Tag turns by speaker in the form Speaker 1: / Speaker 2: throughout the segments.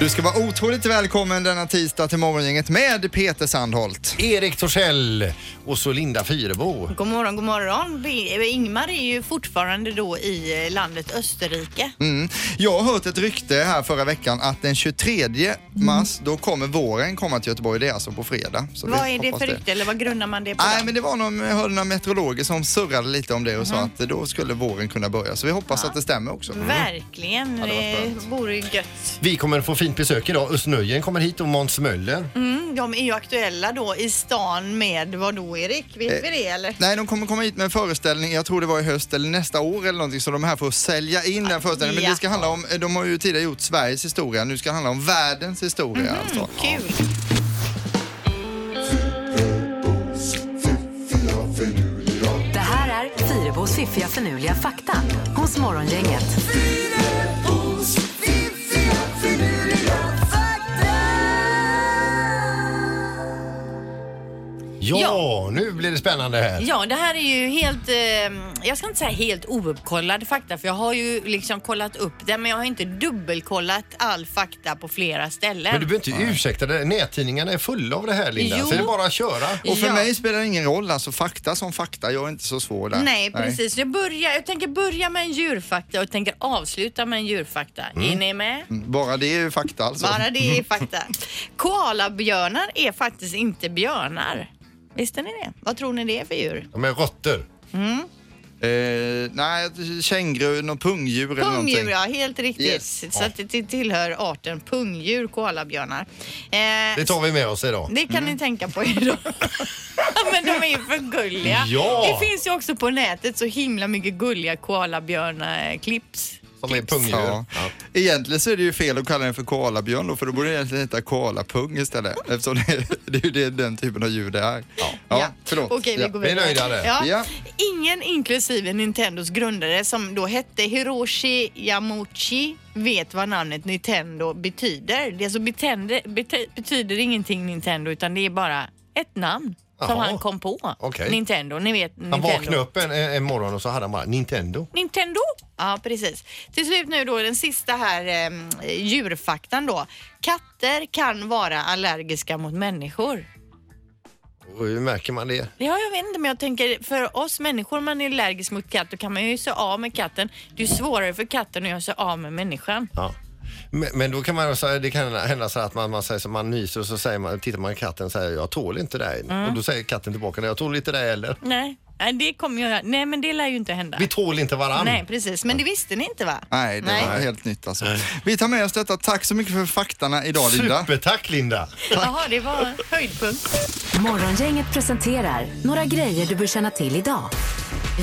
Speaker 1: Du ska vara otroligt välkommen denna tisdag till Morgongänget med Peter Sandholt.
Speaker 2: Erik Torssell och så Linda Fyrebo.
Speaker 3: God morgon, god morgon. Vi- eh, Ingmar är ju fortfarande då i eh, landet Österrike.
Speaker 1: Mm. Jag har hört ett rykte här förra veckan att den 23 mars, då kommer våren komma till Göteborg. Det är alltså på fredag. Så vi
Speaker 3: vad är det
Speaker 1: hoppas
Speaker 3: för rykte eller vad grundar man det på?
Speaker 1: Nej, men det var någon, jag hörde några meteorologer som surrade lite om det och sa
Speaker 3: Mhm.
Speaker 1: att då skulle våren kunna börja. Så vi hoppas att det stämmer också.
Speaker 3: Verkligen,
Speaker 1: Mm. Ja, det var
Speaker 3: det
Speaker 1: skönt.
Speaker 3: vore ju gött.
Speaker 2: Vi kommer få fint besök idag. Özz Nujen kommer hit och Måns Möller.
Speaker 3: Mm, de är ju aktuella då i stan med vad då Erik? Vet vi det eller?
Speaker 1: Eh, Nej, de kommer komma hit med en föreställning, jag tror det var i höst eller nästa år eller någonting, så de är här för att sälja in den föreställningen. Men
Speaker 3: Ja.
Speaker 1: det ska handla om, eh, de har ju tidigare gjort Sveriges historia, nu ska det handla om världens historia
Speaker 3: Mhm.
Speaker 1: alltså.
Speaker 3: Kul.
Speaker 4: Det här är Fyrabos fiffiga förnuliga fakta hos Morgongänget.
Speaker 2: Ja,
Speaker 3: Ja.
Speaker 2: nu blir det spännande här.
Speaker 3: Ja, det här är ju helt, eh, jag ska inte säga helt ouppkollad fakta för jag har ju liksom kollat upp det men jag har inte dubbelkollat all fakta på flera ställen.
Speaker 2: Men du behöver inte ursäkta dig. Nättidningarna är fulla av det här Linda.
Speaker 3: Jo.
Speaker 2: Så det är bara att köra.
Speaker 1: Och för
Speaker 3: Ja.
Speaker 1: mig spelar det ingen roll, alltså fakta som fakta, jag är inte så svår där.
Speaker 3: Nej, precis. Jag, börjar, jag tänker börja med en djurfakta och tänker avsluta med en djurfakta.
Speaker 2: Mm.
Speaker 3: Är ni med?
Speaker 1: Mm, Bara det är ju fakta alltså.
Speaker 3: Bara det är fakta. Koalabjörnar är faktiskt inte björnar. Visste ni det? Vad tror ni det är för djur? Mm.
Speaker 2: De är råttor.
Speaker 1: Mm. Eh, nej, känguru, något pungdjur, eller någonting.
Speaker 3: Pungdjur, ja helt riktigt.
Speaker 1: Yes.
Speaker 3: Så att det tillhör arten pungdjur, koalabjörnar. Eh,
Speaker 2: Det tar vi med Mm. oss idag.
Speaker 3: Det kan ni tänka på idag. Men de är ju för gulliga.
Speaker 2: Ja.
Speaker 3: Det finns ju också på nätet så himla mycket gulliga eh, koalabjörnar-clips.
Speaker 2: Som är pungdjur.
Speaker 1: Ja.
Speaker 2: Ja.
Speaker 1: Egentligen så är det ju fel att kalla den för koalabjörn då, för då borde den egentligen heta koalapung istället. Eftersom det, det är ju det- den typen av djur det är. Ja, förlåt.
Speaker 3: Okej, vi går
Speaker 2: Vi är
Speaker 3: vidare.
Speaker 2: nöjda där.
Speaker 3: Ja.
Speaker 1: Ja.
Speaker 3: Ingen inklusive Nintendos grundare som då hette Hiroshi Yamauchi vet vad namnet Nintendo betyder. Det som betände, bety, betyder ingenting Nintendo utan det är bara ett namn som
Speaker 2: Jaha.
Speaker 3: han kom på.
Speaker 2: Okej.
Speaker 3: Nintendo, ni vet
Speaker 2: Han
Speaker 3: Nintendo.
Speaker 2: vaknade upp en, en morgon och så hade han bara Nintendo.
Speaker 3: Nintendo. Ja, precis. Till slut nu då den sista här eh, djurfaktan då. Katter kan vara allergiska mot människor.
Speaker 2: Och hur märker man det?
Speaker 3: Ja, jag vet inte, men jag tänker för oss människor, om man är allergisk mot katt, då kan man ju se av med katten. Det är ju svårare för katten att göra sig av med människan.
Speaker 2: Ja. Men, men då kan man säga, det kan hända så här att man, man säger så man nyser och så säger man, tittar man i katten och säger jag tål inte dig.
Speaker 3: Mm.
Speaker 2: Och då säger katten tillbaka, jag tål inte dig heller.
Speaker 3: Nej, nej, det kommer jag Nej, men det lär ju inte hända.
Speaker 2: Vi tål inte varann.
Speaker 3: Nej, precis. Men det visste ni inte va?
Speaker 1: Nej, det var helt nytt alltså. Vi tar med oss detta. Tack så mycket för faktarna idag Linda.
Speaker 2: Supertack Linda!
Speaker 3: Jaha, det var höjdpunkt.
Speaker 4: Morgongänget presenterar några grejer du bör känna till idag.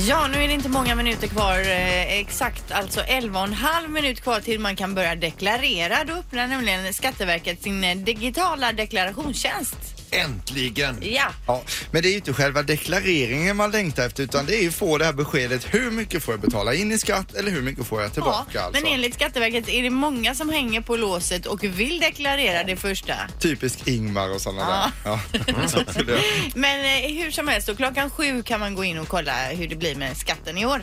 Speaker 3: Ja, nu är det inte många minuter kvar. Eh, exakt alltså 11 och en halv minut kvar till man kan börja deklarera. Då öppnar nämligen Skatteverket sin eh, digitala deklarationstjänst.
Speaker 2: Äntligen!
Speaker 3: Ja.
Speaker 1: Ja, men det är ju inte själva deklareringen man längtar efter utan det är ju få det här beskedet hur mycket får jag betala in i skatt eller hur mycket får jag tillbaka
Speaker 3: ja,
Speaker 1: alltså.
Speaker 3: Men enligt Skatteverket är det många som hänger på låset och vill deklarera det första.
Speaker 1: Typisk Ingmar och sådana där. Ja. Så att det-
Speaker 3: Men eh, hur som helst, och klockan sju kan man gå in och kolla hur det blir med skatten i år.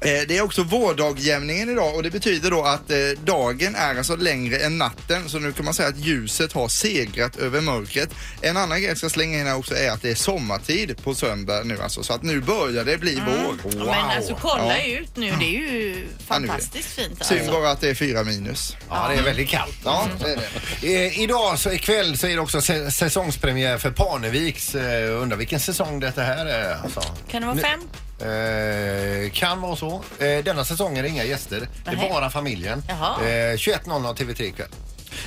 Speaker 1: Eh, Det är också vårdagjämningen idag och det betyder då att eh, dagen är alltså längre än natten så nu kan man säga att ljuset har segrat över mörkret. En annan grej jag ska slänga in här också är att det är sommartid på söndag nu alltså så att nu börjar det bli vår.
Speaker 3: Mm. Ja, Men alltså kolla ut nu, det är ju
Speaker 1: Ja, nu är det.
Speaker 3: fantastiskt fint.
Speaker 1: Synd
Speaker 3: Alltså.
Speaker 1: bara att det är fyra minus.
Speaker 2: Ja, det är väldigt kallt.
Speaker 1: Ja, det är det.
Speaker 2: Eh, idag så ikväll så är det också sä- säsongspremiär för Parneviks. Eh, undrar vilken säsong detta här är alltså.
Speaker 3: Kan det vara fem?
Speaker 2: Eh, kan vara så. Eh, denna säsongen är det inga gäster. Det
Speaker 3: Nej.
Speaker 2: är bara familjen. Eh,
Speaker 3: Jaha.
Speaker 2: 21.00 TV3 ikväll.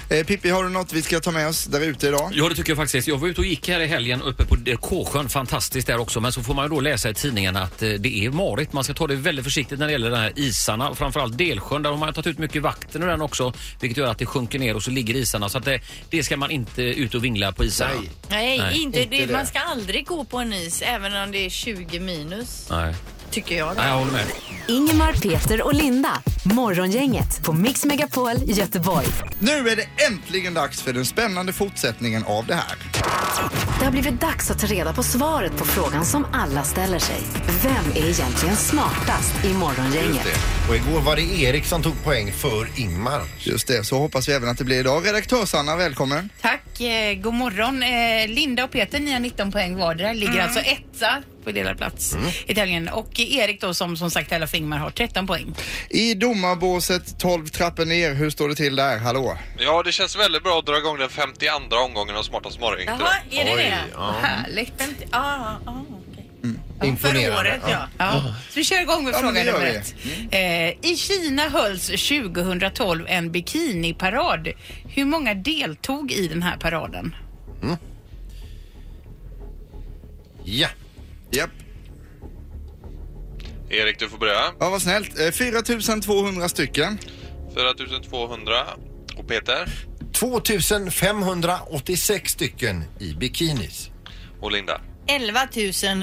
Speaker 1: Eh, Pippi, har du något vi ska ta med oss där ute idag?
Speaker 5: Ja, det tycker jag faktiskt. Jag var ute och gick här i helgen uppe på Kåsjön. Fantastiskt där också. Men så får man ju då läsa i tidningen att eh, det är marigt. Man ska ta det väldigt försiktigt när det gäller de här isarna. Framförallt Delsjön. Där har man ju tagit ut mycket vatten ur den också. Vilket gör att det sjunker ner och så ligger isarna. Så att det, det ska man inte ut och vingla på isarna.
Speaker 2: Nej.
Speaker 3: Nej,
Speaker 5: Nej,
Speaker 3: inte, det,
Speaker 2: det.
Speaker 3: man ska aldrig gå på en is även om det är 20 minus.
Speaker 5: Nej.
Speaker 3: tycker jag. Då.
Speaker 5: Nej, jag håller med.
Speaker 4: Ingemar, Peter och Linda. Morgongänget på Mix Megapol Göteborg.
Speaker 1: Nu är det äntligen dags för den spännande fortsättningen av det här.
Speaker 4: Det har blivit dags att ta reda på svaret på frågan som alla ställer sig. Vem är egentligen smartast i
Speaker 1: Just
Speaker 4: Morgongänget?
Speaker 1: det.
Speaker 2: Och igår var det Erik som tog poäng för Ingmar.
Speaker 1: Just det, så hoppas vi även att det blir idag. Redaktör Sanna, välkommen.
Speaker 6: Tack, eh, god morgon. Eh, Linda och Peter, ni har 19 poäng vardera. Ligger
Speaker 1: Mm.
Speaker 6: alltså etta på delad plats
Speaker 2: Mm.
Speaker 6: i tävlingen. Och Erik då som som sagt alla Fingmar har 13 poäng.
Speaker 1: I domarbåset 12 trappor ner, hur står det till där? Hallå?
Speaker 7: Ja, det känns väldigt bra att dra igång den 52 omgången av Smartast morgon. idag.
Speaker 6: Jaha, är det
Speaker 2: Oj,
Speaker 6: det?
Speaker 2: ja.
Speaker 6: Härligt. Ah, ah, okej. Ja,
Speaker 2: Imponerande,
Speaker 6: För året, ja. ja. Så vi kör igång med
Speaker 1: Ja, men
Speaker 6: fråga
Speaker 1: det gör
Speaker 6: nummer
Speaker 1: vi. Mm.
Speaker 6: ett. Eh, I Kina hölls 2012 en bikiniparad. Hur många deltog i den här paraden?
Speaker 2: Ja.
Speaker 1: Japp.
Speaker 7: Erik, du får börja.
Speaker 1: Ja, vad snällt. Eh, 4200 stycken.
Speaker 7: 4200. Och Peter
Speaker 2: 2586 stycken i bikinis.
Speaker 7: och Linda.
Speaker 2: Mm.
Speaker 3: 11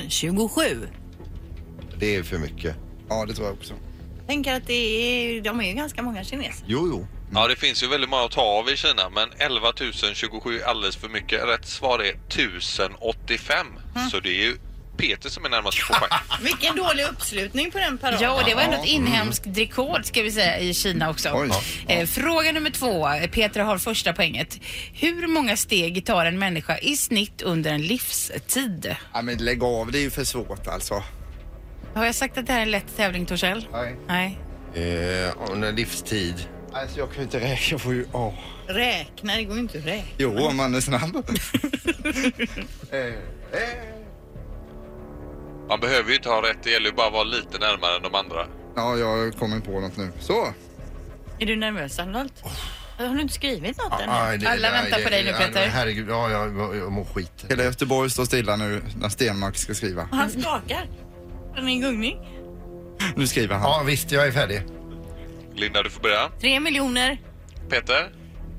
Speaker 3: 027.
Speaker 2: Det är för mycket.
Speaker 1: Ja, det tror jag också.
Speaker 3: Tänker att det är, de är ju ganska många kineser.
Speaker 2: Jo, jo.
Speaker 7: Ja, det finns ju väldigt många att ta av i Kina, men 11 027 är alldeles för mycket. Rätt svar är 1085.
Speaker 6: Mm.
Speaker 7: Så det är ju Peter som är närmast på poäng.
Speaker 3: Vilken dålig uppslutning på den paraden.
Speaker 6: Ja, och det var ändå ett inhemskt rekord ska vi säga i Kina också.
Speaker 1: Oj.
Speaker 6: Eh, Fråga nummer två. Peter har första poänget. Hur många steg tar en människa i snitt under en livstid?
Speaker 1: Ja, men lägg av, det är ju för svårt alltså.
Speaker 6: Har jag sagt att det här är en lätt tävling, Torssell?
Speaker 1: Nej.
Speaker 6: Nej.
Speaker 2: Eh, under livstid.
Speaker 1: Alltså, jag kan ju inte räkna, jag får ju... Åh.
Speaker 3: Räkna, det går ju inte att räkna.
Speaker 1: Jo, om man är snabb. Eh, eh.
Speaker 7: Man behöver ju inte ha rätt, det gäller ju bara att vara lite närmare än de andra.
Speaker 1: Ja, jag kommer på något nu. Så!
Speaker 3: Är du nervös Arnold? Har du inte skrivit något än?
Speaker 2: Aj, Ah, det-
Speaker 6: Alla
Speaker 2: det-
Speaker 6: väntar
Speaker 2: det-
Speaker 6: på dig nu,
Speaker 2: aj,
Speaker 6: Peter.
Speaker 2: men Herregud, ja, jag, jag, jag mår skit.
Speaker 1: Hela Göteborg står stilla nu när Stenmark ska skriva.
Speaker 3: Han skakar. Han är i gungning.
Speaker 1: Nu skriver han.
Speaker 2: Ja, visst, jag är färdig.
Speaker 7: Linda, du får börja.
Speaker 3: Tre miljoner.
Speaker 7: Peter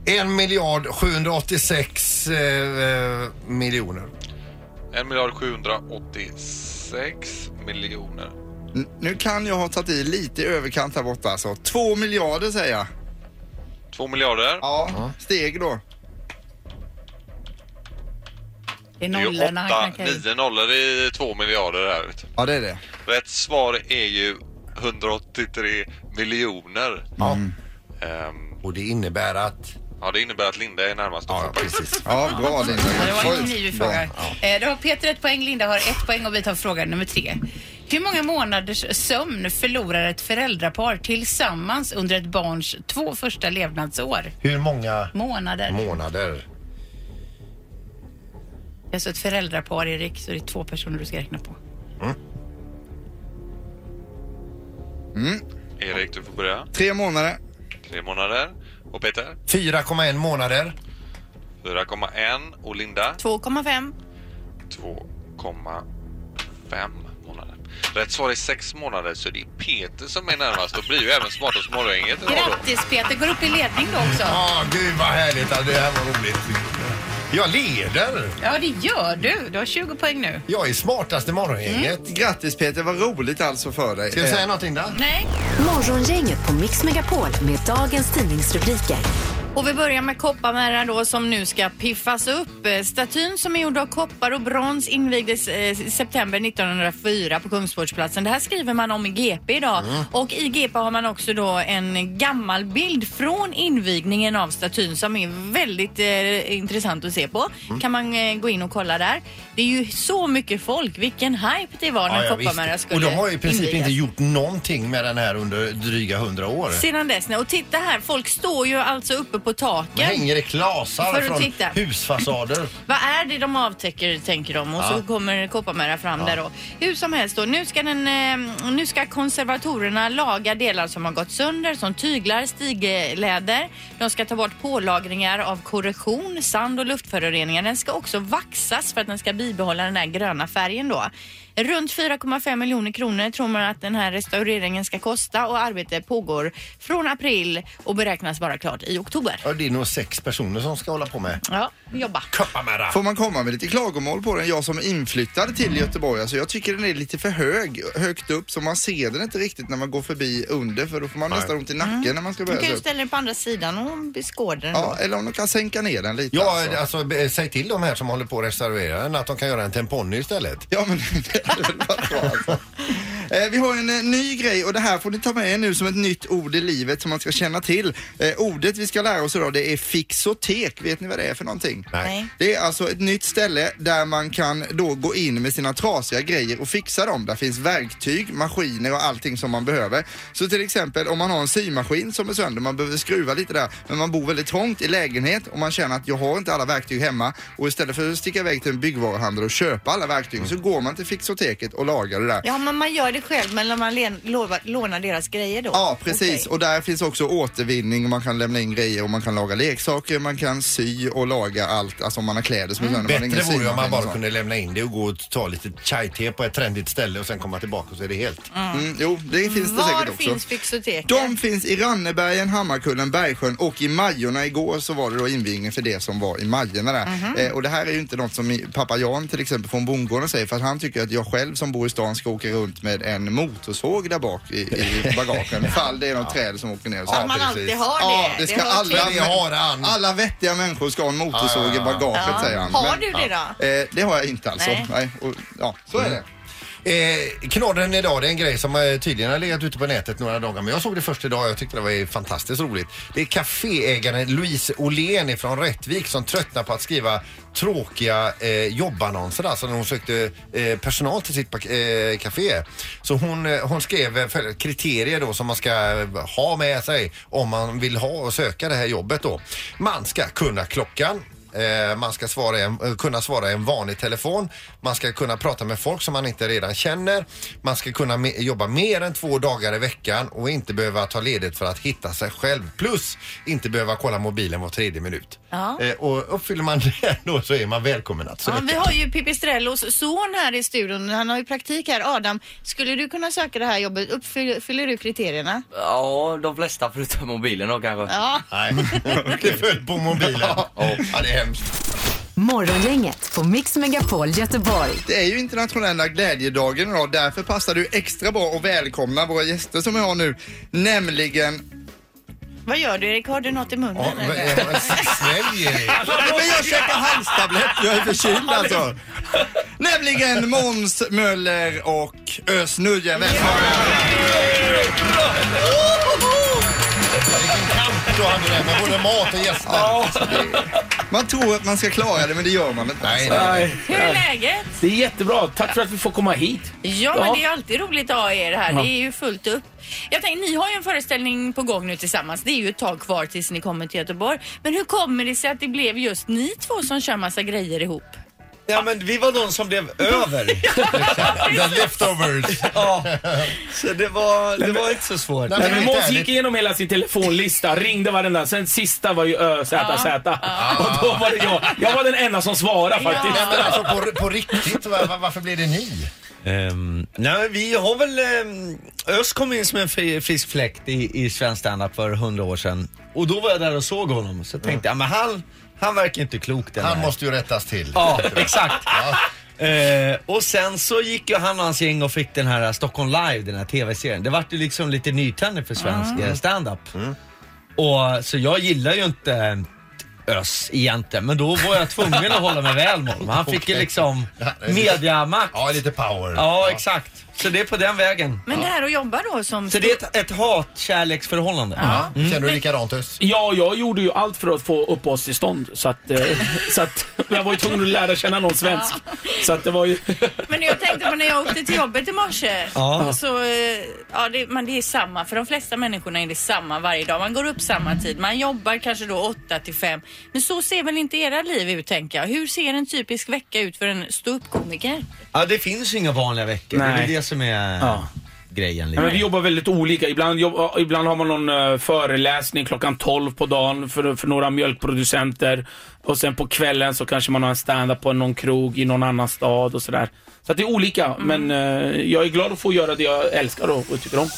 Speaker 2: 1 miljard 786 eh, eh, miljoner.
Speaker 7: 1 miljard 786 miljoner.
Speaker 1: N- Nu kan jag ha tagit i lite i överkant här borta alltså. Två miljarder säger jag.
Speaker 7: 2 miljarder.
Speaker 1: Ja, steg då.
Speaker 6: Det är
Speaker 7: Det är ju
Speaker 6: nollorna han
Speaker 7: 8,
Speaker 6: knackar i.
Speaker 7: 9 nollor i 2 miljarder där. Vet du.
Speaker 1: Ja, det är det.
Speaker 7: Rätt svar är ju 183 miljoner.
Speaker 2: Ja.
Speaker 1: Mm.
Speaker 7: Ehm,
Speaker 2: Och det innebär att...
Speaker 7: ja, det innebär att Linda är närmast.
Speaker 2: Ja, precis.
Speaker 1: Ja, bra Linda.
Speaker 6: Ja, det var en
Speaker 1: Oj,
Speaker 6: knivig
Speaker 1: bra.
Speaker 6: fråga. Eh, Då har Peter ett poäng, Linda har ett poäng och vi tar fråga nummer tre. Hur många månaders sömn förlorar ett föräldrapar tillsammans under ett barns två första levnadsår?
Speaker 2: Hur många
Speaker 6: Månader.
Speaker 2: månader?
Speaker 6: Alltså ett föräldrapar, Erik, så det är två personer du ska räkna på. Mm.
Speaker 7: Erik, du får börja.
Speaker 1: Tre månader.
Speaker 7: 3 månader. Och Peter?
Speaker 2: 4,1 månader.
Speaker 7: 4,1 och Linda
Speaker 3: 2,5.
Speaker 7: 2,5 månader. Rätt svar är 6 månader så det är Peter som är närmast och blir ju även smartast morgongänget idag då.
Speaker 6: Grattis Peter, går upp i ledning då också.
Speaker 2: Ja, gud vad härligt. Ja, Det här var roligt. Jag leder.
Speaker 6: Ja, det gör du. Du har 20 poäng nu.
Speaker 2: Jag är smartaste morgongänget.
Speaker 1: Mm. Grattis Peter, vad roligt alltså för dig.
Speaker 2: Ska jag säga
Speaker 1: Eh,
Speaker 2: någonting där?
Speaker 6: Nej.
Speaker 4: Morgongänget på Mix Megapol med dagens tidningsrubriker.
Speaker 3: Och vi börjar med Kopparmära då som nu ska piffas upp. Eh, Statyn som är gjord av koppar och brons invigdes eh, i september 1904 på Kungsportsplatsen. Det här skriver man om i GP idag.
Speaker 2: Mm.
Speaker 3: Och i GP har man också då en gammal bild från invigningen av statyn som är väldigt eh, intressant att se på.
Speaker 2: Mm.
Speaker 3: Kan man eh, gå in och kolla där. Det är ju så mycket folk. Vilken hype det var när
Speaker 2: Ja, ja,
Speaker 3: Kopparmära
Speaker 2: visst.
Speaker 3: skulle
Speaker 2: Och de har ju i princip
Speaker 3: invigas.
Speaker 2: inte gjort någonting med den här under dryga hundra år.
Speaker 3: Sedan dess, nej. och titta här, folk står ju alltså uppe på
Speaker 2: Det
Speaker 3: taken.
Speaker 2: hänger i
Speaker 3: Får
Speaker 2: klasar
Speaker 3: du
Speaker 2: från
Speaker 3: titta?
Speaker 2: husfasader.
Speaker 3: Vad är det de avtäcker tänker de och så kommer Kopparmära fram där då. Hur som helst då, nu ska, den, eh, nu ska konservatorerna laga delar som har gått sönder som tyglar, stigläder. De ska ta bort pålagringar av korrosion, sand och luftföroreningar. Den ska också vaxas för att den ska bibehålla den här gröna färgen då. Runt 4,5 miljoner kronor tror man att den här restaureringen ska kosta och arbetet pågår från april och beräknas vara klart i oktober.
Speaker 2: Ja, det är nog sex personer som ska hålla på med.
Speaker 3: Ja, jobba.
Speaker 2: Kopparmära!
Speaker 1: Får man komma med lite klagomål på den? Jag som är inflyttad till Göteborg, alltså jag tycker den är lite för hög, högt upp så man ser den inte riktigt när man går förbi under för då får man
Speaker 2: Nej.
Speaker 1: nästan ont i nacken när man ska
Speaker 3: Du
Speaker 1: börja
Speaker 3: kan
Speaker 1: se
Speaker 3: ju
Speaker 1: upp.
Speaker 3: ställa dig på andra sidan och beskåda den.
Speaker 1: Ja,
Speaker 3: då.
Speaker 1: eller om de kan sänka ner den lite.
Speaker 2: Ja,
Speaker 1: alltså.
Speaker 2: alltså be- säg till de här som håller på att restaurera den att de kan göra en temponny istället.
Speaker 1: Ja, men det hade väl varit bra alltså. Eh, Vi har en eh, ny grej och det här får ni ta med er nu som ett nytt ord i livet som man ska känna till. Eh, ordet vi ska lära oss idag det är fixotek. Vet ni vad det är för någonting?
Speaker 3: Nej.
Speaker 1: Det är alltså ett nytt ställe där man kan då gå in med sina trasiga grejer och fixa dem. Där finns verktyg, maskiner och allting som man behöver. Så till exempel om man har en symaskin som är sönder, man behöver skruva lite där, men man bor väldigt trångt i lägenhet och man känner att jag har inte alla verktyg hemma och istället för att sticka iväg till en byggvaruhandel och köpa alla verktyg så går man till fixoteket och lagar det där.
Speaker 3: Ja, men man gör det själv, men man len- lova- lånar deras grejer då?
Speaker 1: Ja, precis.
Speaker 3: Okej.
Speaker 1: Och där finns också återvinning och man kan lämna in grejer och man kan laga leksaker, man kan sy och laga allt, alltså om man har kläder som är sönder. man har
Speaker 2: Mm. Bättre
Speaker 1: ingen
Speaker 2: vore ju om man
Speaker 1: symaskin och
Speaker 2: bara
Speaker 1: sånt.
Speaker 2: kunde lämna in det och gå och ta lite chai-te på ett trendigt ställe och sen komma tillbaka och så är det helt.
Speaker 1: Mm, jo, det finns det
Speaker 3: Var
Speaker 1: säkert också.
Speaker 3: finns Fixoteket?
Speaker 1: De finns i Rannebergen, Hammarkullen, Bergsjön och i Majorna. Igår så var det då invigning för det som var i Majorna där.
Speaker 3: Mhm.
Speaker 1: eh, och det här är ju inte något som i- pappa Jan till exempel från bondgården säger för att han tycker att jag själv som bor i stan ska åka runt med en motorsåg där bak i, i bagagen. Ifall det är något träd som åker ner. och så.
Speaker 3: Att man alltid har det.
Speaker 1: Ja, det ska
Speaker 3: hör
Speaker 1: alla,
Speaker 3: till.
Speaker 2: Det har han.
Speaker 1: alla vettiga människor ska ha en motorsåg
Speaker 2: Ja, ja, ja.
Speaker 1: i bagaget
Speaker 3: Ja.
Speaker 1: säger han.
Speaker 3: Har
Speaker 1: Men-
Speaker 3: du det då?
Speaker 1: Eh, det har jag inte alltså.
Speaker 3: Nej.
Speaker 1: Nej. och, ja, så är det.
Speaker 2: Eh, knorren idag det är en grej som eh, tydligen har legat ute på nätet några dagar men jag såg det först idag och jag tyckte det var eh, fantastiskt roligt. Det är kaféägaren Louise Åhlén från Rättvik som tröttnar på att skriva tråkiga eh, jobbannonser alltså när hon sökte eh, personal till sitt pak- eh, café. Så hon, eh, hon skrev eh, följande kriterier då som man ska eh, ha med sig om man vill ha och söka det här jobbet då. Man ska kunna klockan, Eh, Man ska svara i en, eh, kunna svara i en vanlig telefon. Man ska kunna prata med folk som man inte redan känner. Man ska kunna me- jobba mer än två dagar i veckan och inte behöva ta ledigt för att hitta sig själv. Plus inte behöva kolla mobilen var tredje minut.
Speaker 3: Ja.
Speaker 2: Eh, Och uppfyller man det då så är man välkommen att söka.
Speaker 3: Ja, vi har ju Pipistrellos son här i studion. Han har ju praktik här. Adam, skulle du kunna söka det här jobbet? Uppfyller fyller du kriterierna?
Speaker 8: Ja, de flesta förutom mobilen då kanske.
Speaker 3: Ja.
Speaker 2: Nej, det föll på mobilen. Ja, det är hemskt.
Speaker 4: Morgongänget på Mix Megapol Göteborg.
Speaker 1: Det är ju internationella glädjedagen idag. Därför passar du extra bra och välkomna våra gäster som vi har nu. Nämligen...
Speaker 3: Vad gör du Erik? Har du något i munnen?
Speaker 2: Ja, men,
Speaker 3: eller?
Speaker 2: eh, vad Snäll Erik.
Speaker 1: Men jag käkar halstablett, jag är förkyld alltså. Nämligen Måns Möller och Özz Nujen. Välkomna!
Speaker 2: Vilken kamp du hade där med både mat och gäster.
Speaker 1: Man tror att man ska klara det, men det gör man inte.
Speaker 2: Nej, nej.
Speaker 3: Hur är läget?
Speaker 9: Det är jättebra. Tack för att vi får komma hit.
Speaker 3: Ja, men det är alltid roligt att ha er här. Det är ju fullt upp. Jag tänkte, ni har ju en föreställning på gång nu tillsammans. Det är ju ett tag kvar tills ni kommer till Göteborg. Men hur kommer det sig att det blev just ni två som kör massa grejer ihop?
Speaker 10: Ja, men vi var de som blev över.
Speaker 2: The leftovers.
Speaker 10: ja. Så det var, det var inte så svårt.
Speaker 2: Nej,
Speaker 9: Nej, men
Speaker 2: helt
Speaker 9: Måns
Speaker 2: ärligt.
Speaker 9: gick igenom hela sin telefonlista, ringde varenda. Sen sista var ju ÖZZ. Och då var det jag. Jag var den enda som svarade faktiskt.
Speaker 2: Nej, men alltså på, på riktigt, va- va- varför blir det ni?
Speaker 10: Ehm, nej, men vi har väl... Um, Ös kom in som en fri, frisk fläkt i, i svensk standup för hundra år sedan. Och då var jag där och såg honom. Så tänkte jag, men han, han verkar inte klok den
Speaker 2: Han
Speaker 10: här.
Speaker 2: måste ju rättas till.
Speaker 10: Ja, exakt. Eh, och sen så gick ju han och hans gäng och fick den här Stockholm Live, den här TV-serien. Det vart ju liksom lite nytändning för svensk mm. stand-up. Och, så jag gillar ju inte Ös egentligen, men då var jag tvungen att hålla mig väl med honom. Han fick ju
Speaker 2: Okej.
Speaker 10: liksom
Speaker 2: Ja, det är lite-
Speaker 10: mediamakt.
Speaker 2: Ja, lite power.
Speaker 10: Ja, exakt. Så det är på den vägen.
Speaker 3: Men det här att jobba då som...
Speaker 10: Så det är ett, ett Mm. hat-kärleksförhållande.
Speaker 2: Känner du likadant Özz?
Speaker 9: Ja, jag gjorde ju allt för att få uppehållstillstånd. Så att, eh, så att jag var ju tvungen att lära känna någon svensk. Så att det var ju...
Speaker 3: Men jag tänkte på när jag åkte till jobbet i morse.
Speaker 10: Ja.
Speaker 3: Och Så, eh, ja, det, men det är samma. För de flesta människorna är det samma varje dag. Man går upp samma tid. Man jobbar kanske då 8 till 5. Men så ser väl inte era liv ut, tänker jag. Hur ser en typisk vecka ut för en ståuppkomiker?
Speaker 10: Ja, det finns ju inga vanliga veckor. Det är
Speaker 9: Nej.
Speaker 10: väl det som är...
Speaker 9: Ja.
Speaker 10: grejen.
Speaker 9: Nej, men vi
Speaker 10: Liksom.
Speaker 9: jobbar väldigt olika. Ibland, jobb, ibland har man någon eh, föreläsning klockan 12 på dagen för, för några mjölkproducenter. Och sen på kvällen så kanske man har en stand-up på någon krog i någon annan stad och sådär. Så att det är olika, men eh, jag är glad att få göra det jag älskar och, och tycker om.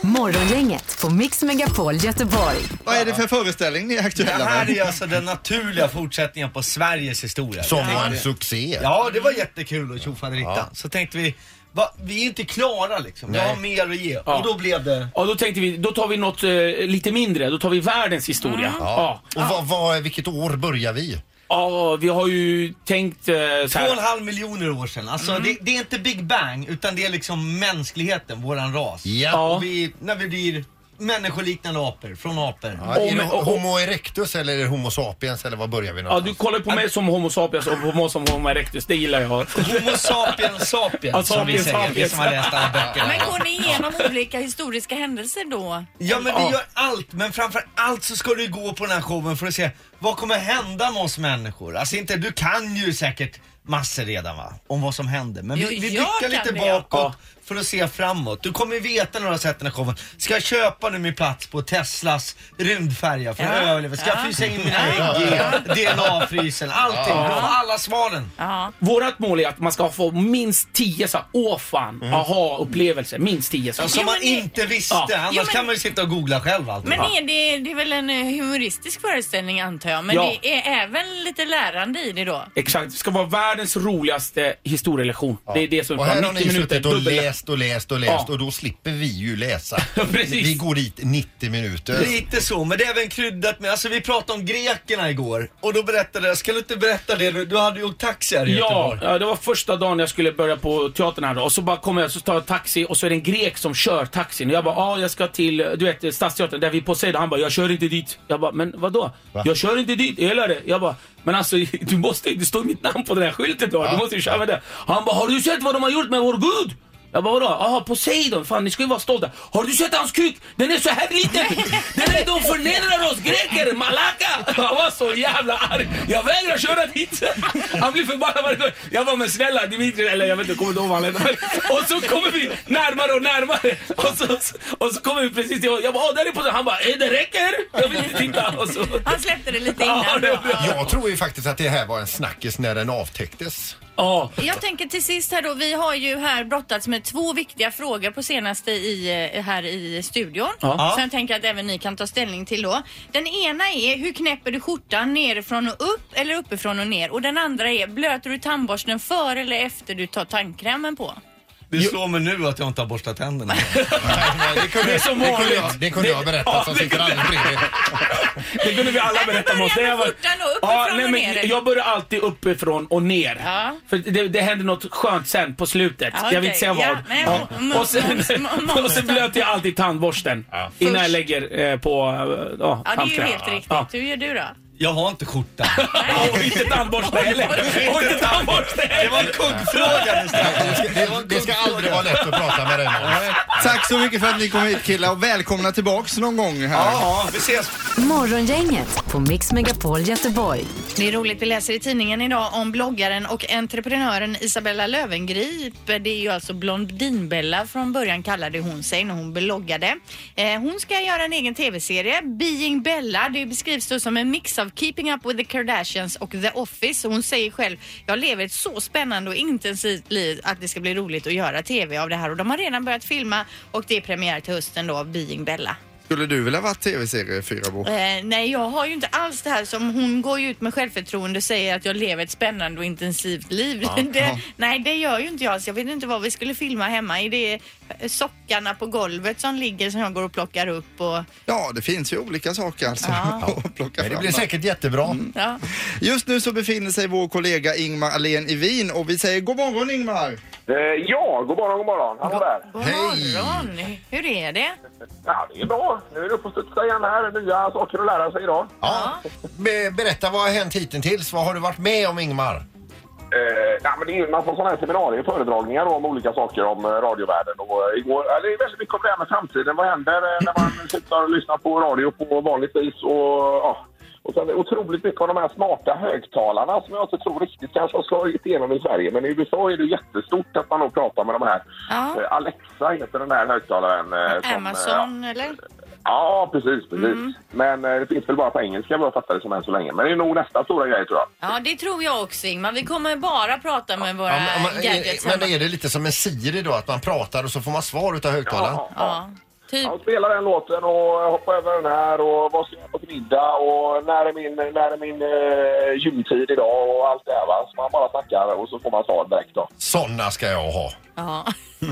Speaker 4: Morgongänget på Mix Megapol Göteborg.
Speaker 1: Vad är det för föreställning ni är aktuella
Speaker 10: Det här
Speaker 1: med?
Speaker 10: är alltså den naturliga fortsättningen på Sveriges historia.
Speaker 2: Som
Speaker 10: Det
Speaker 2: var
Speaker 10: är
Speaker 2: en
Speaker 10: det.
Speaker 2: succé.
Speaker 10: Ja, det var jättekul och tjofaderittan. Så tänkte vi, va, vi är inte klara liksom. Vi
Speaker 2: Nej.
Speaker 10: har mer att ge.
Speaker 9: Ja.
Speaker 10: Och då blev det...
Speaker 9: Ja, då tänkte vi, då tar vi något eh, lite mindre. Då tar vi världens historia. Ja.
Speaker 2: Och vad, vad, vilket år börjar vi?
Speaker 9: ja, vi har ju tänkt eh, så här.
Speaker 10: 2,5 miljoner år sedan. Alltså
Speaker 2: Mm.
Speaker 10: det, det är inte Big Bang utan det är liksom mänskligheten, våran ras.
Speaker 2: Ja.
Speaker 9: Ja.
Speaker 10: Och vi, när vi blir människoliknande apor, från apor.
Speaker 2: Ja, är det
Speaker 9: Om- och-
Speaker 2: homo erectus eller är det homo sapiens eller var börjar vi
Speaker 9: Ja,
Speaker 2: någonstans?
Speaker 9: du kollar på mig som Homo sapiens och på mig som Homo erectus. Det gillar jag.
Speaker 10: Homo sapiens sapiens
Speaker 9: Ja,
Speaker 10: som vi
Speaker 9: sapiens,
Speaker 10: säger, vi
Speaker 9: sapiens.
Speaker 10: som har läst alla böckerna.
Speaker 3: Men går ni igenom olika historiska händelser då?
Speaker 10: Ja men vi gör allt, men framför allt så ska du gå på den här showen för att se vad kommer hända med oss människor? Alltså inte, du kan ju säkert massor redan va? Om vad som händer. Men vi,
Speaker 3: Jo,
Speaker 10: vi
Speaker 3: jag
Speaker 10: blickar
Speaker 3: kan
Speaker 10: lite
Speaker 3: det.
Speaker 10: bakåt
Speaker 9: Ja.
Speaker 10: för att se framåt. Du kommer veta när du har sett den här showen. Ska jag köpa nu min plats på Teslas rymdfärja för att
Speaker 3: Ja.
Speaker 10: överleva? Ska jag
Speaker 3: Ja.
Speaker 10: frysa in mina ägg i DNA-frysen? Allting, du har alla svaren.
Speaker 3: Ja.
Speaker 9: Vårat mål är att man ska få minst 10 så här, åh fan, aha-upplevelser. Minst 10 så.
Speaker 10: Ja,
Speaker 9: här.
Speaker 10: Mm. Som
Speaker 3: Jo,
Speaker 10: man
Speaker 3: men det-
Speaker 10: inte visste,
Speaker 9: Ja. Jo,
Speaker 10: annars
Speaker 3: men-
Speaker 10: kan man ju sitta och googla själv allt.
Speaker 3: Men är det, det är väl en eh, humoristisk föreställning antar jag, men
Speaker 9: Ja.
Speaker 3: det är även lite lärande i det då?
Speaker 9: Exakt, det ska vara världens roligaste historielektion. Det är det som
Speaker 2: och här har
Speaker 9: 90
Speaker 2: ni suttit och
Speaker 9: dubbel-
Speaker 2: läst och läst och läst
Speaker 9: Ja.
Speaker 2: och då slipper vi ju läsa.
Speaker 9: Precis.
Speaker 2: Vi går dit 90 minuter.
Speaker 10: Lite så, men det är även kryddat med, alltså vi pratade om grekerna igår och då berättade jag, ska du inte berätta det nu? Du hade ju åkt taxi här i
Speaker 9: Ja,
Speaker 10: Göteborg.
Speaker 9: ja, det var första dagen jag skulle börja på teatern här då. Och så bara kommer jag, så tar jag taxi och så är det en grek som kör taxin. Och jag bara, ja ah, jag ska till, du vet, Stadsteatern där vi på Poseidon. Han bara, jag kör inte dit. Jag bara, men vadå?
Speaker 2: Va?
Speaker 9: Jag kör inte dit, eller det? Jag bara, men alltså du måste ju, det står mitt namn på den här skylten då. Du
Speaker 2: Ja.
Speaker 9: måste ju köra med det. Han bara, har du sett vad de har gjort med vår gud? Jag bara vadå? Jaha Poseidon, fan ni ska ju vara stolta. Har du sett hans kuk? Den är så här liten! Den är, de förnedrar oss greker, malaka! Han var så jävla arg. Jag vägrar köra dit. Han blir förbannad varje gång. Jag var men snälla Dimitri, eller jag vet inte, kommer du ihåg vad han hette? Och så kommer vi närmare och närmare. Och så, och så kommer vi precis till honom. Jag bara, åh där är Poseidon. Han bara, eh, det räcker! Jag vill inte titta. Och så,
Speaker 3: Han släppte det lite
Speaker 9: Ja,
Speaker 3: innan
Speaker 9: det
Speaker 3: då.
Speaker 9: var bra.
Speaker 2: Jag tror ju faktiskt att det här var en snackis när den avtäcktes.
Speaker 9: ja.
Speaker 3: Jag tänker till sist här då, vi har ju här brottats med två viktiga frågor på senaste i, eh, här i studion.
Speaker 9: Ja.
Speaker 3: Som jag tänker att även ni kan ta ställning till då. Den ena är, hur knäpper du skjortan nerifrån och upp eller uppifrån och ner? Och den andra är, blöter du tandborsten före eller efter du tar tandkrämen på?
Speaker 10: Det slår mig nu att jag inte har borstat tänderna.
Speaker 2: Det kunde,
Speaker 9: Det är som
Speaker 2: det kunde,
Speaker 9: vanligt.
Speaker 2: jag, det kunde jag berätta
Speaker 9: Ja,
Speaker 2: som
Speaker 9: det
Speaker 2: sitter
Speaker 9: kunde-
Speaker 2: alldeles bredvid.
Speaker 9: Det kunde vi alla
Speaker 3: Nej, men
Speaker 9: berätta om
Speaker 3: börja
Speaker 9: oss. Det
Speaker 3: med
Speaker 9: var-
Speaker 3: skjortan då, uppifrån
Speaker 9: ja,
Speaker 3: och
Speaker 9: nej,
Speaker 3: ner.
Speaker 9: men Jag börjar alltid uppifrån och ner.
Speaker 3: Ja.
Speaker 9: För det, det händer något skönt sen på slutet.
Speaker 3: Ja,
Speaker 9: Jag
Speaker 3: okej.
Speaker 9: vill inte säga
Speaker 3: Ja,
Speaker 9: vad.
Speaker 3: men-
Speaker 9: Ja.
Speaker 3: mm,
Speaker 9: Och sen,
Speaker 3: mm, mm,
Speaker 9: och sen
Speaker 3: mm.
Speaker 9: blöter jag alltid tandborsten innan jag
Speaker 3: Först.
Speaker 9: lägger eh, på eh, ja,
Speaker 3: Ja, det är ju
Speaker 9: tandkräm.
Speaker 3: helt riktigt.
Speaker 9: Ja.
Speaker 3: Hur gör du då?
Speaker 10: Jag har inte skjorta.
Speaker 9: Ja, Och inte tandborste heller. Och inte tandborste
Speaker 10: Det var
Speaker 9: heller.
Speaker 10: en kuggfråga
Speaker 2: Det ska, det, det ska aldrig vara lätt att prata med dig någon.
Speaker 1: Tack så mycket för att ni kom hit killar och välkomna tillbaks någon gång här.
Speaker 10: Ja, vi ses.
Speaker 4: Morgongänget på Mix Megapol Göteborg.
Speaker 3: Det är roligt, vi läser i tidningen idag om bloggaren och entreprenören Isabella Lövengrip. Det är ju alltså Blondinbella från början kallade hon sig när hon bloggade. Eh, hon ska göra en egen tv-serie, Being Bella. Det beskrivs då som en mix av Keeping Up With The Kardashians och The Office. Och Hon säger själv, jag lever ett så spännande och intensivt liv att det ska bli roligt att göra tv av det här. Och de har redan börjat filma och det är premiär till hösten då av Being Bella.
Speaker 1: Skulle du vilja varit tv-serie Fyrabo?
Speaker 3: Eh, nej, jag har ju inte alls det här som hon går ju ut med självförtroende och säger att jag lever ett spännande och intensivt liv. det, nej, det gör ju inte jag. Så jag vet inte vad vi skulle filma hemma. Är det eh, sockarna på golvet som ligger som jag går och plockar upp? Och,
Speaker 1: Ja, det finns ju olika saker alltså
Speaker 3: Ja.
Speaker 1: att plocka
Speaker 2: Men det
Speaker 1: fram. Mm.
Speaker 2: blir säkert jättebra.
Speaker 3: ja.
Speaker 1: Just nu så befinner sig vår kollega Ingmar Ahlén i Wien och vi säger god morgon Ingmar!
Speaker 11: Eh, ja, god morgon, god morgon. Hallå där.
Speaker 3: God
Speaker 2: Hej.
Speaker 3: morgon! Hur är det?
Speaker 11: Ja, det är bra. Nu är det upp och studsa igen här. Nya saker att lära sig idag.
Speaker 2: Ja. Be, berätta, vad har hänt hittills? Vad har du varit med om Ingmar?
Speaker 11: Eh, ja, men det är ju en massa sådana här seminarier, föredragningar om olika saker om eh, radiovärlden. Och, eh, igår, ja, det är väldigt mycket om det här med framtiden. Vad händer eh, när man slutar lyssna på radio på vanligt vis? Och, ja, Och sen otroligt mycket av de här smarta högtalarna som jag inte tror riktigt kanske har slagit igenom i Sverige. Men i USA är det ju jättestort att man då pratar med de här.
Speaker 3: Ja.
Speaker 11: Eh, Alexa heter den här högtalaren. eh, som, eh,
Speaker 3: Amazon Mm. eller?
Speaker 11: Ja, precis. precis. Men eh, det finns väl bara på engelska vad jag fattar det som än så länge. Men det är nog nästa stora grej tror jag.
Speaker 3: Ja, det tror jag också Ingmar. Vi kommer bara prata med våra
Speaker 2: Ja, men, men,
Speaker 3: gadgets.
Speaker 2: men
Speaker 3: hemma.
Speaker 2: är det lite som en Siri då, att man pratar och så får man svar utav högtalaren?
Speaker 3: Ja, typ.
Speaker 11: Ja, spela den låten och hoppa över den här och vad ska jag på till middag och när är min, när är min eh, gymtid idag och allt det här va. Så man bara snackar och så får man svar direkt då.
Speaker 2: Sådana ska jag ha.
Speaker 3: Ja.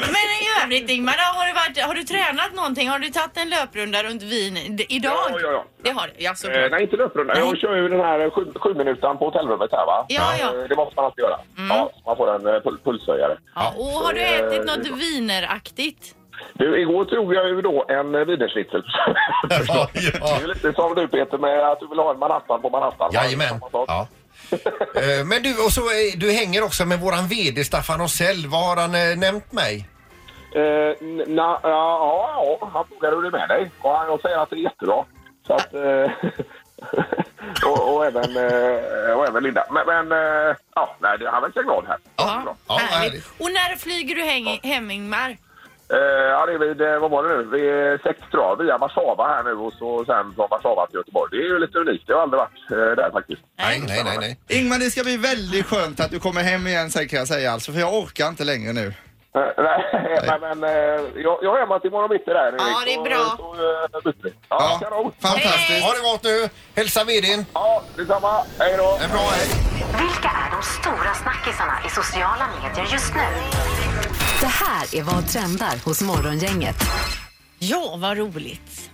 Speaker 3: Men i övrigt Ingmar, då har du, varit, har du tränat någonting? Har du tagit en löprunda runt Wien d- idag?
Speaker 11: Ja, ja, ja.
Speaker 3: Det har du? Ja, så bra.
Speaker 11: Eh, nej, inte löprunda. Jag kör ju den här sju, sju minuten på hotellrummet här va.
Speaker 3: Ja, ja.
Speaker 11: Eh, Det måste man alltid göra. Ja, så man får en eh, pul- pulshöjare.
Speaker 3: Ja, och har du
Speaker 11: Så, eh,
Speaker 3: ätit något wieneraktigt?
Speaker 11: Du, igår tog jag ju då en eh, wienerschnitzel.
Speaker 2: ja,
Speaker 11: Det är ju lite som du Peter med att du vill ha en manhattan på manhattan. va?
Speaker 2: Jajamän. Ja. Eh, Men du, och så, eh, du hänger också med våran VD Staffan Rosell. Vad har han eh, nämnt mig?
Speaker 11: Eh, n- na, ja, ja, ja, han frågade hur det är med dig och han, jag säger att det är jättebra. Så att, eh, och, och, även, eh, och även Linda. Men, men eh, ja, nej, det- han verkar glad här. Ja,
Speaker 3: Härligt. Och när flyger du häng, hem Ingmar?
Speaker 11: Eh, ja, det är vid, eh, vad var det nu, vid sex tror jag, via Warszawa här nu och så sen från Warszawa till Göteborg. Det är ju lite unikt, jag har aldrig varit eh, där faktiskt.
Speaker 2: Nej, nej, nej. nej.
Speaker 1: Ingmar, det ska bli väldigt skönt att du kommer hem igen sen kan jag säga alltså, för jag orkar inte längre nu.
Speaker 11: Eh, nej, nej, men eh, jag, jag är hemma till imorgon bitti där
Speaker 3: Ja, det är bra.
Speaker 11: Så, så eh, byter vi. Ja, kanon.
Speaker 2: Fantastiskt. Ha det gott nu. Hälsa VDn.
Speaker 11: Ja, detsamma. Hej då.
Speaker 2: En bra hej.
Speaker 4: Vilka är de stora snackisarna i sociala medier just nu? Det här är vad trendar hos Morgongänget.
Speaker 3: Ja, vad roligt.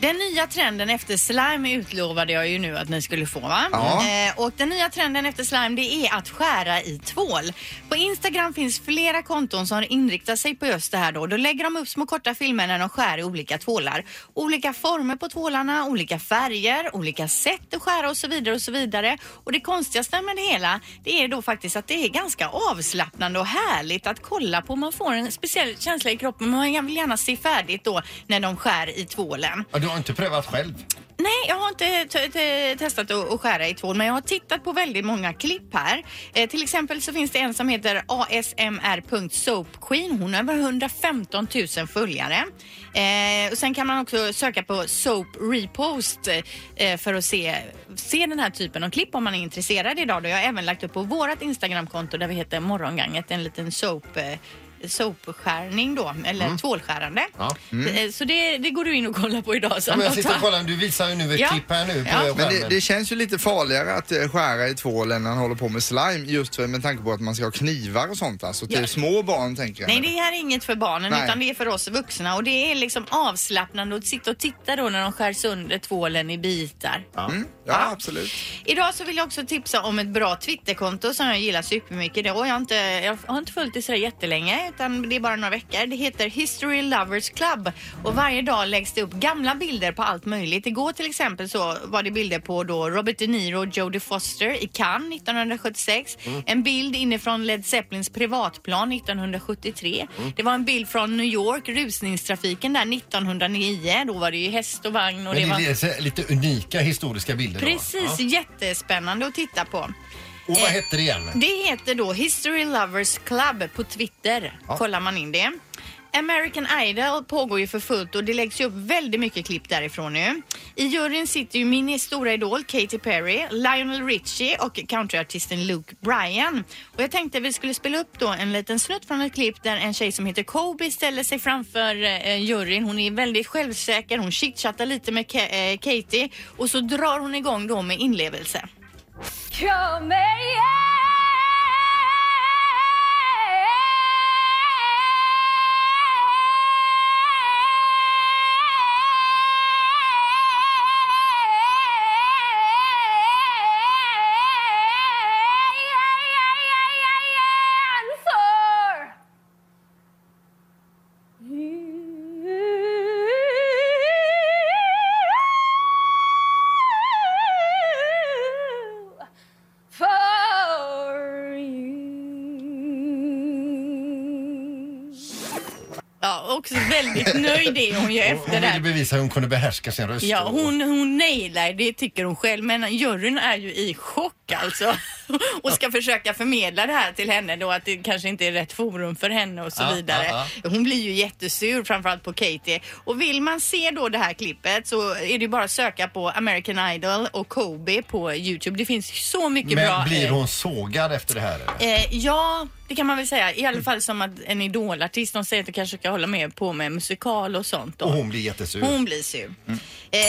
Speaker 3: Den nya trenden efter slime utlovade jag ju nu att ni skulle få va?
Speaker 12: Ja.
Speaker 3: Eh, och den nya trenden efter slime det är att skära i tvål. På Instagram finns flera konton som inriktar sig på just det här då. Då lägger de upp små korta filmer när de skär i olika tvålar. Olika former på tvålarna, olika färger, olika sätt att skära och så vidare och så vidare. Och det konstigaste med det hela det är då faktiskt att det är ganska avslappnande och härligt att kolla på. Man får en speciell känsla i kroppen. Man vill gärna se färdigt då när de skär i tvålen.
Speaker 2: Ja, Du har inte prövat själv?
Speaker 3: Nej, jag har inte t- t- testat att att skära i tvål, men jag har tittat på väldigt många klipp här. Eh, till exempel så finns det en som heter asmr.soapqueen. Hon har över 115 000 följare. Eh, och sen kan man också söka på soap repost eh, för att se, se den här typen av klipp om man är intresserad idag. Då jag har även lagt upp på vårt Instagramkonto där vi heter Morgonganget en liten soap eh, sopskärning då, eller
Speaker 2: Mm.
Speaker 3: tvålskärande.
Speaker 2: Ja. Mm.
Speaker 3: Eh, Så det, det går du in och kollar på idag.
Speaker 2: Ja, men jag
Speaker 3: Samma
Speaker 2: sitter och
Speaker 3: sak.
Speaker 2: kollar. Du visar ju nu ett
Speaker 3: Ja.
Speaker 2: klipp här nu på
Speaker 3: Ja.
Speaker 2: skärmen.
Speaker 1: Men det, det känns ju lite farligare att eh, skära i tvål än när han håller på med slime just för, med tanke på att man ska ha knivar och sånt alltså. Till
Speaker 3: Ja.
Speaker 1: små barn tänker jag.
Speaker 3: Nej, det här är inget för barnen
Speaker 1: Nej.
Speaker 3: utan det är för oss vuxna och det är liksom avslappnande att sitta och titta då när de skär sönder tvålen i bitar.
Speaker 1: Mm, ja, absolut.
Speaker 3: Idag så vill jag också tipsa om ett bra Twitterkonto som jag gillar supermycket. Det har jag, inte, jag har inte följt det så där jättelänge utan det är bara några veckor. Det heter History Lovers Club och varje dag läggs det upp gamla bilder på allt möjligt. Igår till exempel så var det bilder på då Robert De Niro och Jodie Foster i Cannes 1976.
Speaker 12: Mm.
Speaker 3: En bild inifrån Led Zeppelins privatplan 1973.
Speaker 12: Mm.
Speaker 3: Det var en bild från New York, rusningstrafiken där 1909. Då var det ju häst och vagn och
Speaker 2: Men
Speaker 3: det var...
Speaker 2: det är lite- lite unika historiska bilder. då.
Speaker 3: Precis,
Speaker 2: Ja.
Speaker 3: jättespännande att titta på.
Speaker 2: Och vad hette det igen?
Speaker 3: Eh, Det heter då History Lovers Club på Twitter.
Speaker 2: Ja.
Speaker 3: Kollar man in det. American Idol pågår ju för fullt och det läggs ju upp väldigt mycket klipp därifrån nu. I juryn sitter ju min stora idol Katy Perry, Lionel Richie och countryartisten Luke Bryan. Och jag tänkte vi skulle spela upp då en liten snutt från ett klipp där en tjej som heter Kobe ställer sig framför eh, juryn. Hon är väldigt självsäker, hon chitchattar lite med Ka- eh, Katy och så drar hon igång då med inlevelse.
Speaker 12: Show me answer. For
Speaker 3: också väldigt nöjd det hon gör efter
Speaker 2: Hon
Speaker 3: det
Speaker 2: ville
Speaker 3: här.
Speaker 2: bevisa hur hon kunde behärska sin röst.
Speaker 3: Ja, hon, hon nailar det tycker hon själv men juryn är ju i chock alltså och ska försöka förmedla det här till henne då att det kanske inte är rätt forum för henne och så
Speaker 13: Ja,
Speaker 3: vidare.
Speaker 13: ja,
Speaker 3: Hon blir ju jättesur framförallt på Katie och vill man se då det här klippet så är det ju bara att söka på American Idol och Kobe på Youtube. Det finns så mycket
Speaker 2: Men
Speaker 3: bra.
Speaker 2: blir
Speaker 3: eh,
Speaker 2: hon sågad efter det här? eller?
Speaker 3: Eh, ja, det kan man väl säga. I alla fall som att en idolartist, de säger att du kanske ska hålla med på med musikal och sånt. Då.
Speaker 2: Och hon blir jättesur. Mm.
Speaker 3: Hon blir sur. Eh,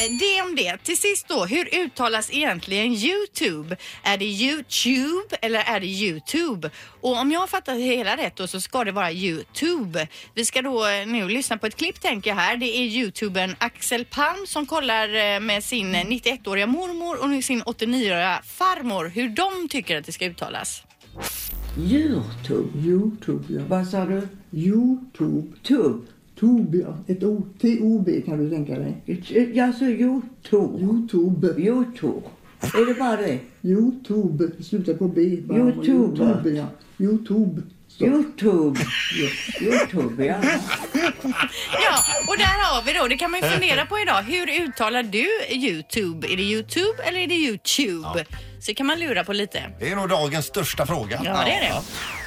Speaker 3: det om det. Till sist då, hur uttalas egentligen Youtube? Är det Youtube eller är det Youtube? Och om jag har fattat det hela rätt då så ska det vara Youtube. Vi ska då eh, nu lyssna på ett klipp tänker jag här. Det är Youtubern Axel Palm som kollar eh, med sin eh, 91-åriga mormor och sin 89-åriga farmor hur de tycker att det ska uttalas.
Speaker 14: Youtube. Youtube, ja. Vad sa du? Youtube. Tub. Tub, ja. Ett O. T-O-B kan du tänka dig.
Speaker 15: Jag sa Youtube.
Speaker 14: Youtube.
Speaker 15: Youtube. Är det bara det?
Speaker 14: Youtube. Det slutar på B. bara.
Speaker 15: Youtube.
Speaker 14: Youtube, ja. Youtube.
Speaker 15: Youtube.
Speaker 14: Youtube, ja.
Speaker 3: Ja, och där har vi då. Det kan man ju fundera på idag. Hur uttalar du Youtube? Är det Youtube eller är det Youtube? Så kan man lura på lite.
Speaker 2: Det är nog dagens största fråga.
Speaker 3: Ja, det är det.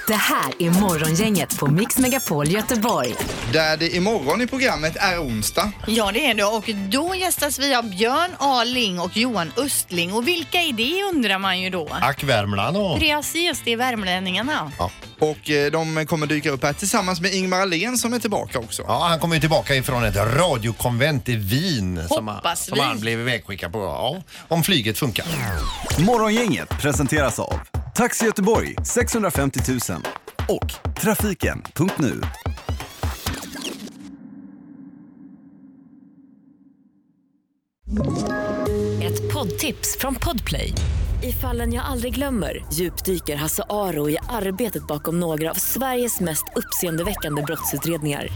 Speaker 4: Det här är Morgongänget på Mix Megapol Göteborg.
Speaker 1: Där det imorgon i programmet är onsdag.
Speaker 3: Ja, det är det. Och då gästas vi av Björn A. Ling och Johan Östling. Och vilka är det undrar man ju då?
Speaker 1: Ack Värmland
Speaker 3: Precis, det är värmlänningarna.
Speaker 1: Och eh, de kommer dyka upp här tillsammans med Ingmar Ahlén som är tillbaka också.
Speaker 2: Ja, han kommer ju tillbaka ifrån ett radiokonvent i Wien som han,
Speaker 3: Hoppas
Speaker 2: som
Speaker 3: vi.
Speaker 2: han blev ivägskickad på. Ja, om flyget funkar.
Speaker 16: Morgongänget presenteras av Taxi Göteborg 650 000 och Trafiken.nu.
Speaker 17: Ett poddtips från Podplay. I fallen jag aldrig glömmer djupdyker Hasse Aro i arbetet bakom några av Sveriges mest uppseendeväckande brottsutredningar.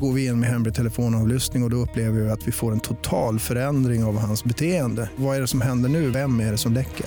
Speaker 18: Går vi in med hemlig telefonavlyssning och, och då upplever vi att vi får en total förändring av hans beteende. Vad är det som händer nu? Vem är det som läcker?